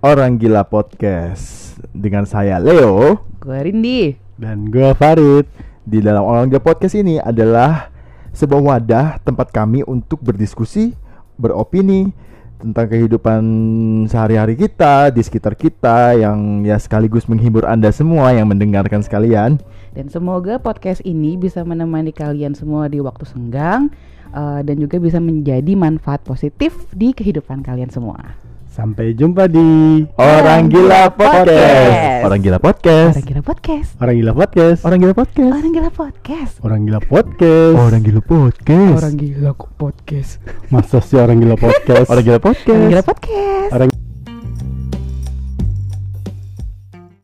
Orang Gila Podcast dengan saya Leo. Gue Rindi Dan gua Farid. Di dalam Orang Gila Podcast ini adalah sebuah wadah tempat kami untuk berdiskusi, beropini tentang kehidupan sehari-hari kita di sekitar kita yang ya sekaligus menghibur Anda semua yang mendengarkan sekalian. Dan semoga podcast ini bisa menemani kalian semua di waktu senggang eh, Dan juga bisa menjadi manfaat positif di kehidupan kalian semua Sampai jumpa di Orang Gila Podcast. Podcast. Orang Gila Orang Podcast. Gila Podcast Orang Gila Podcast. Orang Gila Podcast. Orang Gila Podcast Orang Gila Podcast. Orang Gila Podcast. Gila Podcast Masa sih Orang Gila Podcast? Orang Gila Orang Podcast. Gila Podcast Orang